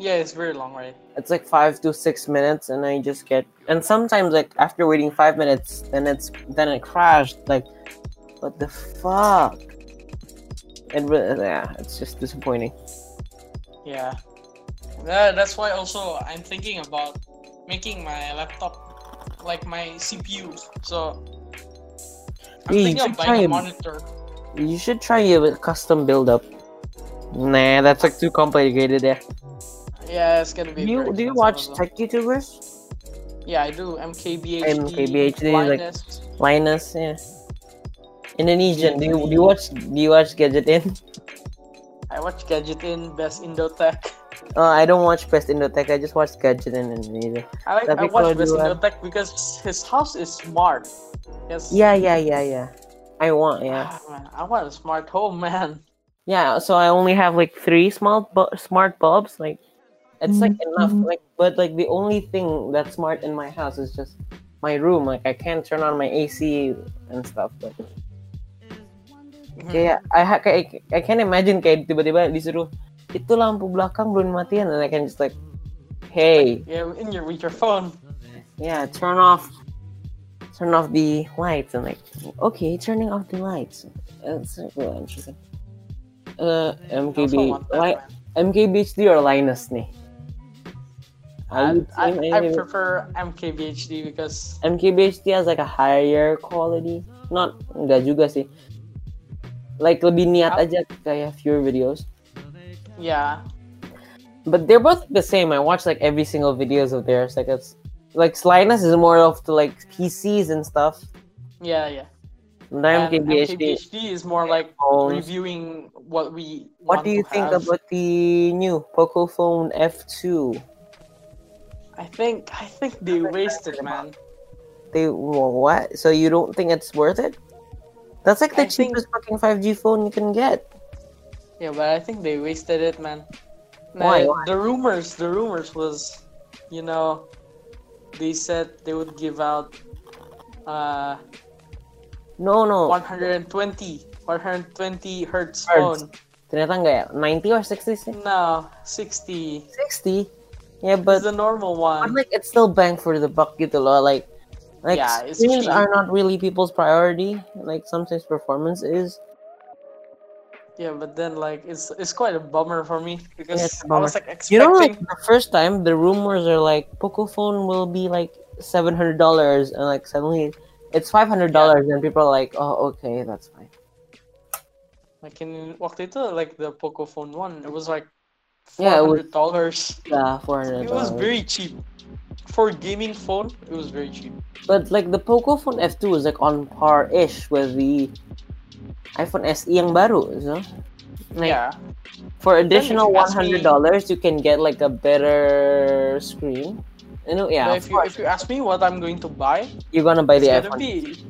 B: Yeah, it's very long, right?
A: it's like five to six minutes, and I just get and sometimes like after waiting five minutes, then it's then it crashed. Like, what the fuck? It re- yeah, it's just disappointing.
B: Yeah. That, that's why also I'm thinking about making my laptop like my CPU. So I'm
A: Yeah, you
B: thinking
A: should
B: of buying
A: try
B: a
A: and-
B: monitor.
A: You should try a custom build up. Nah, that's like too complicated. Yeah.
B: Yeah, it's gonna
A: Do
B: be.
A: you
B: very
A: do you
B: expensive
A: watch
B: as well.
A: tech YouTubers?
B: Yeah, I do. MKBHD.
A: MKBHD, like-
B: Linus.
A: Linus, yeah. Indonesian. Do you do you watch do you watch Gadget In?
B: I watch Gadget in Best Indotech.
A: Uh, I don't watch Best Indotech. I just watch Gadget In Indonesia.
B: I like.
A: Tapi
B: I watch
A: kalau
B: Best
A: di luar-
B: Indotech because his house is smart. Yes.
A: Yeah, yeah, yeah, yeah. I want yeah.
B: Ah, man, I want a smart home, man.
A: Yeah, so I only have like three small bu- smart bulbs. Like, it's like enough. Like, but like the only thing that's smart in my house is just my room. Like, I can't turn on my AC and stuff. But kayak
B: Hmm.
A: I ha- kayak I can't imagine kayak tiba-tiba disuruh itu lampu belakang belum matiin and I can just like, hey,
B: Yeah, in your with your phone.
A: yeah, turn off, turn off the lights. And like, okay, turning off the lights. That's really interesting. Uh,
B: I also
A: MKB,
B: want that,
A: why?
B: man.
A: MKBHD or Linus nih? Are
B: I,
A: you
B: I,
A: team
B: I
A: any-
B: prefer MKBHD because
A: MKBHD has like a higher quality. Not enggak juga sih. Like lebih niat
B: Up.
A: aja kayak fewer videos.
B: yeah,
A: But they're both the same. I watch like every single videos of theirs. Like it's like Linus is more of the like PCs and stuff.
B: yeah, yeah.
A: And then
B: And
A: MKBHD.
B: MKBHD is more like
A: phones.
B: reviewing what we.
A: What
B: want
A: do you
B: to
A: think
B: have.
A: about the new Poco Phone F2?
B: I think I think they wasted, man.
A: They well, what? So you don't think it's worth it? That's like the
B: I think-
A: cheapest fucking 5G phone you can get.
B: Yeah, but I think they wasted it, man.
A: Why,
B: Nah,
A: why?
B: The rumors, the rumors was, you know, they said they would give out uh
A: No, no.
B: 120 120
A: Hertz.
B: hertz phone.
A: Ternyata enggak ya? 90 or 60?
B: No, 60
A: 60? Yeah,
B: is
A: but,
B: the normal
A: but
B: one.
A: like it's still bang for the buck gitu loh. Like, like
B: Yeah, it's
A: screens
B: cheap.
A: are not really people's priority. Like sometimes performance is.
B: Yeah, but then like it's it's quite a bummer for me because
A: Yeah, it's a
B: I
A: bummer.
B: was like expecting.
A: You know, like the first time the rumors are like Pocophone will be like seven hundred dollars, and like suddenly it's five hundred dollars, and people are like, oh okay, that's fine.
B: Like in waktu itu like the Pocophone one, it was like four
A: Yeah, it was-
B: hundred dollars.
A: Yeah, four hundred.
B: It was very cheap for gaming phone. It was very cheap.
A: But like the Pocophone F2 is like on par ish with the iPhone SE yang baru, you know? Like,
B: yeah,
A: For
B: But then if
A: additional
B: you
A: one
B: ask me-
A: hundred dollars, you can get like a better screen. You know, yeah,
B: but
A: of
B: if you
A: course.
B: if you ask me what I'm going to buy,
A: you're gonna buy
B: it's
A: the
B: gonna
A: iPhone.
B: be.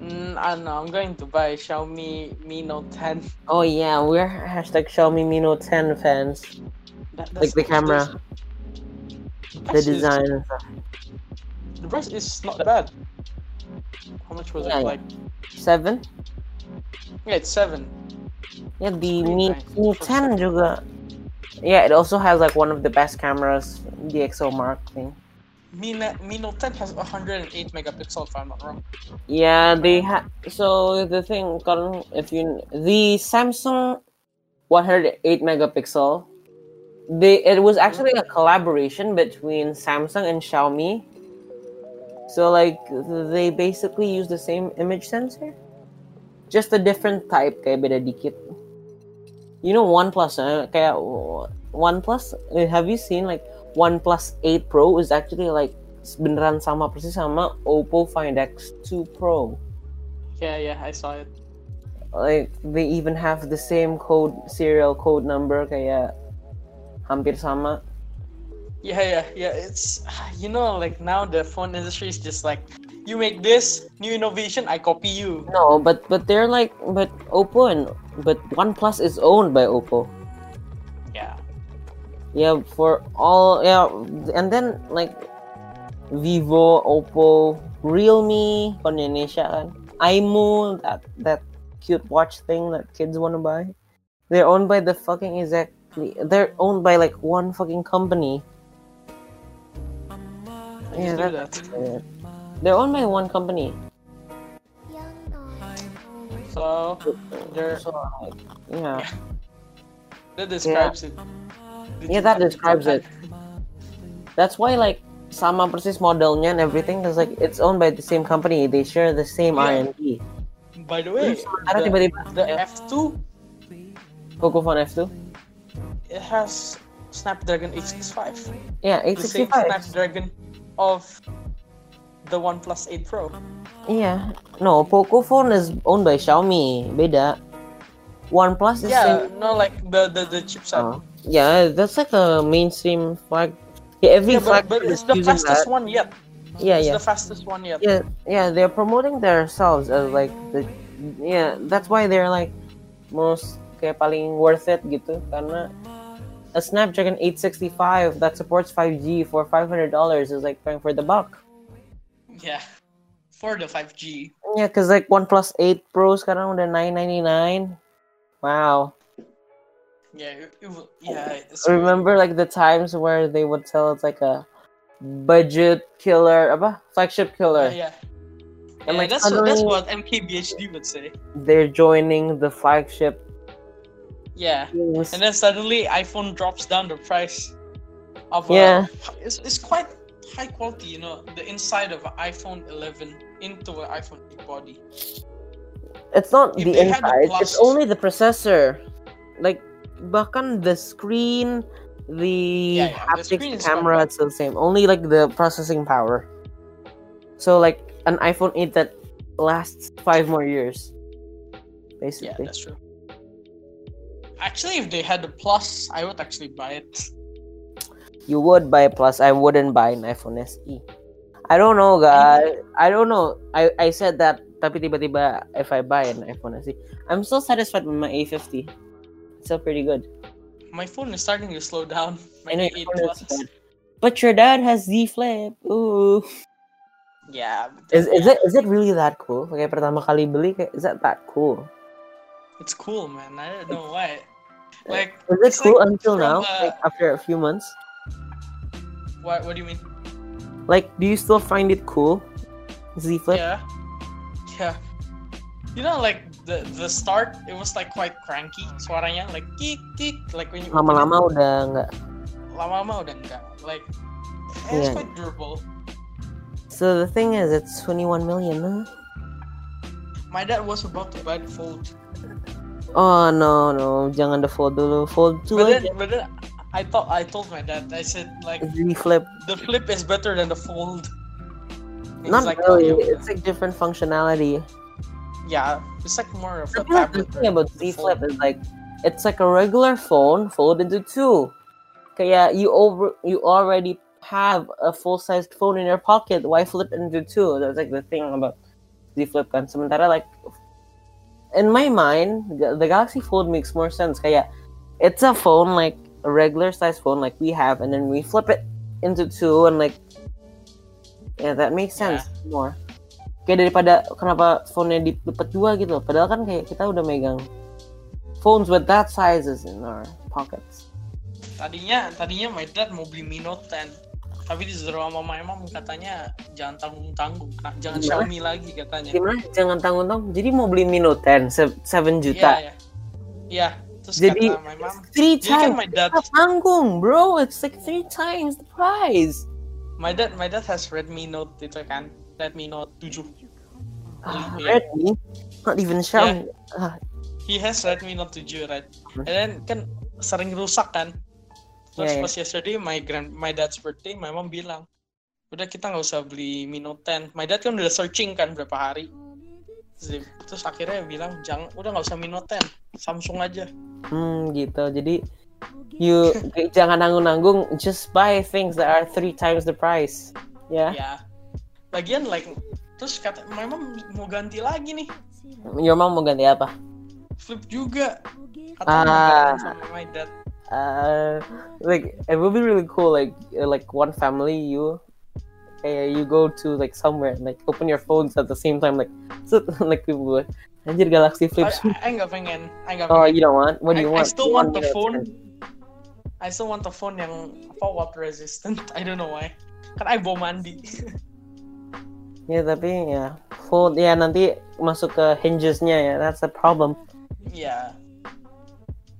B: Mm, I don't know. I'm going to buy Xiaomi Mi Note 10.
A: Oh yeah, we're hashtag Xiaomi Mi Note 10 fans.
B: That,
A: Like the camera, the
B: price is-
A: design. and stuff.
B: the price is not bad. How much was
A: Yeah,
B: it?
A: yeah.
B: Like
A: Seven.
B: yeah, it's seven.
A: Yeah, the
B: Pretty
A: Mi,
B: nice.
A: Mi 10 juga. Yeah, it also has like one of the best cameras, DxO Mark thing.
B: Mi, Na- Mi Note 10 has 108 megapixel if I'm not wrong.
A: Yeah, they had. So the thing, Karan, if you the Samsung 108 megapixel, they it was actually a collaboration between Samsung and Xiaomi. So like they basically use the same image sensor, just a different type. Kayak beda dikit. You know OnePlus, eh? kayak OnePlus. eh, Have you seen like OnePlus 8 Pro is actually like beneran sama persis sama Oppo Find X2 Pro.
B: Yeah, yeah, I saw it.
A: Like they even have the same code serial code number kayak hampir sama.
B: Yeah, yeah, yeah. It's you know, like now the phone industry is just like, you make this new innovation, I copy you.
A: No, but but they're like but Oppo and but OnePlus is owned by Oppo.
B: Yeah.
A: Yeah, for all yeah, and then like Vivo, Oppo, Realme, on Indonesia kan, iMu, that that cute watch thing that kids want to buy. They're owned by the fucking exactly. They're owned by like one fucking company.
B: Yeah,
A: Yeah,
B: do
A: that-
B: that.
A: Yeah. They're owned by one company.
B: So there,
A: So, like, yeah.
B: that describes it. Did
A: Yeah,
B: you
A: that
B: have-
A: describes it. That's why like sama persis modelnya and everything because like it's owned by the same company. They share the same
B: Yeah.
A: R&D.
B: By the way,
A: Ada
B: the,
A: tiba-tiba
B: the F2
A: Poco Phone F2.
B: it has Snapdragon 865,
A: Yeah,
B: the same
A: 865.
B: Snapdragon of the OnePlus 8 Pro.
A: Iya. No, Poco Phone is owned by Xiaomi. Beda. OnePlus is
B: Yeah,
A: same.
B: no, like the the, the chipset.
A: Oh. Yeah, that's like a mainstream flag. Yeah, every
B: Yeah,
A: flag
B: but, but
A: is
B: it's the
A: using that.
B: fastest one yet.
A: Yeah,
B: it's
A: yeah.
B: the fastest one yet.
A: yeah yeah they're promoting themselves as like the yeah that's why they're like most kayak paling worth it gitu karena a Snapdragon 865 that supports 5G for $500 is like bang for the buck
B: Yeah. For the 5G.
A: yeah cause like OnePlus 8 Pro sekarang udah 999 wow
B: Yeah, it, it will, yeah. It's
A: Oh, remember like the times where they would sell it's like a budget killer apa flagship
B: Yeah,
A: killer
B: yeah.
A: And,
B: Yeah,
A: like,
B: that's, what, that's
A: suddenly-
B: what MKBHD would say.
A: they're joining the flagship
B: Yeah.
A: things.
B: And then suddenly iPhone drops down the price of a-
A: Yeah.
B: it's, it's quite high quality, you know, the inside of an iPhone 11 into an iPhone 8 body.
A: It's not
B: If
A: the
B: they had a
A: inside. It's
B: plus-
A: only the processor. Like bahkan the screen, the
B: Yeah, yeah, the
A: haptics,
B: screen
A: the
B: is
A: camera,
B: fine.
A: it's the same. Only like the processing power. So like an iPhone 8 that lasts five more years.
B: Yeah,
A: Basically.
B: that's true. Actually, if they had the plus, I would actually buy it.
A: you would buy a plus. I wouldn't buy an iPhone SE. I don't know, guys. I don't know. I, I said that tapi tiba-tiba if I buy an iPhone SE, I'm still satisfied with my A50. It's still pretty good.
B: My phone is starting to slow down. My
A: I know
B: 8
A: your phone is
B: plus.
A: bad. But your dad has Z Flip. Ooh.
B: Yeah. but
A: Is,
B: then-
A: is it is it really that cool? Kayak pertama kali beli kayak is that that cool?
B: It's cool, man. I don't know why. Like,
A: Is it
B: it's
A: cool
B: like
A: until now?
B: from, uh,
A: Like after a few months?
B: what, what do you mean?
A: Like do you still find it cool? Z Flip?
B: Yeah. Yeah. You know, like the the start, it was like quite cranky suaranya, like kick kick, like when you open
A: Lama-lama
B: it,
A: udah nggak.
B: lama-lama udah enggak. Like eh, it's
A: Yeah.
B: quite durable.
A: So the thing is it's 21 million. Huh?
B: My dad was about to buy the fold,
A: Oh no no, jangan the fold dulu. Fold 2
B: but then
A: aja.
B: but then I thought I told my dad, I said like
A: Z Flip.
B: the flip is better than the fold. He's
A: Not
B: like,
A: really.
B: "Oh, yeah,
A: It's like different functionality.
B: yeah, it's like more of
A: I
B: a
A: feel like the
B: tablet.
A: thing about
B: than
A: Z
B: a fold.
A: Flip is like it's like a regular phone folded into two. Kaya you over you already have a full sized phone in your pocket. Why flip it into two? That's like the thing about Z Flip kan. Sementara like in my mind, the the Galaxy Fold makes more sense. Kaya it's a phone like a regular sized phone like we have, and then we flip it into two and like yeah that makes sense more. Kayak daripada kenapa phone-nya dipet dua gitu loh. Padahal kan kayak kita udah megang phones with that sizes in our pockets.
B: tadinya tadinya my dad mau beli Mi Note 10 tapi disuruh sama my mom katanya jangan tanggung tanggung jangan
A: Gimana?
B: Xiaomi lagi katanya
A: Gimana? Jangan tanggung-tanggung. Jadi mau beli Mi Note 10 se- 7 juta.
B: iya iya terus
A: Jadi-
B: kata my mom
A: Three
B: jadi kan
A: times.
B: my dad
A: Kita tanggung, bro. It's like three times the price.
B: my dad my dad has Redmi Note itu kan Redmi Note 7
A: Ah,
B: Iya.
A: Redmi, not even Xiaomi.
B: he has Redmi Note 7 right and then kan sering rusak kan terus
A: Iya, iya.
B: pas yesterday my grand my dad's birthday my mom bilang udah kita nggak usah beli Mi Note 10 my dad kan udah searching kan berapa hari terus, dia- terus akhirnya bilang jangan udah nggak usah Mi Note 10 Samsung aja
A: Hmm, gitu. Jadi you jangan nanggung-nanggung just buy things that are three times the price ya
B: ya lagian like terus kata my mom mau ganti lagi nih
A: your mom mau ganti apa
B: flip juga kata
A: Ah.
B: sama my dad
A: uh, like it would be really cool like uh, like one family you uh, you go to like somewhere and like open your phones at the same time like so, like people would anjir galaxy
B: I,
A: flips
B: I nggak pengen I nggak
A: oh
B: pengen
A: you don't want what do
B: I,
A: you
B: I
A: want You
B: still want
A: me
B: the
A: to-
B: phone I still want the phone yang apa water resistant I don't know why kan I bawa mandi
A: ya tapi ya phone ya nanti masuk ke hingesnya ya that's a problem
B: yeah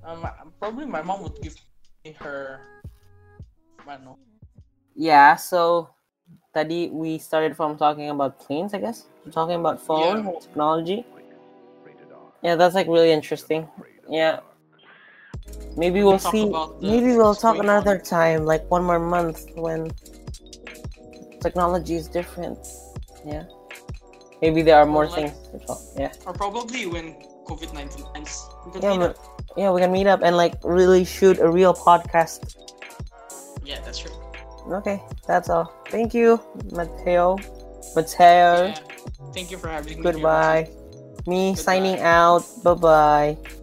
B: um, probably my mom would give me her I don't know
A: yeah so tadi we started from talking about planes I guess talking about phone
B: Yeah.
A: and technology yeah that's like really interesting yeah maybe we'll
B: talk
A: see
B: about the
A: maybe we'll talk
B: screen
A: another time like one more month when technology is different yeah maybe there are more
B: Well, like-
A: things to talk yeah
B: or probably when COVID nineteen ends. We could
A: Yeah,
B: meet
A: but-
B: up.
A: yeah we can meet up and like really shoot a real podcast
B: yeah, that's true.
A: Okay, that's all. Thank you, Mateo. Mateo,
B: Yeah. Thank you for having me. here.
A: goodbye. Me
B: Goodbye.
A: signing out. Bye bye.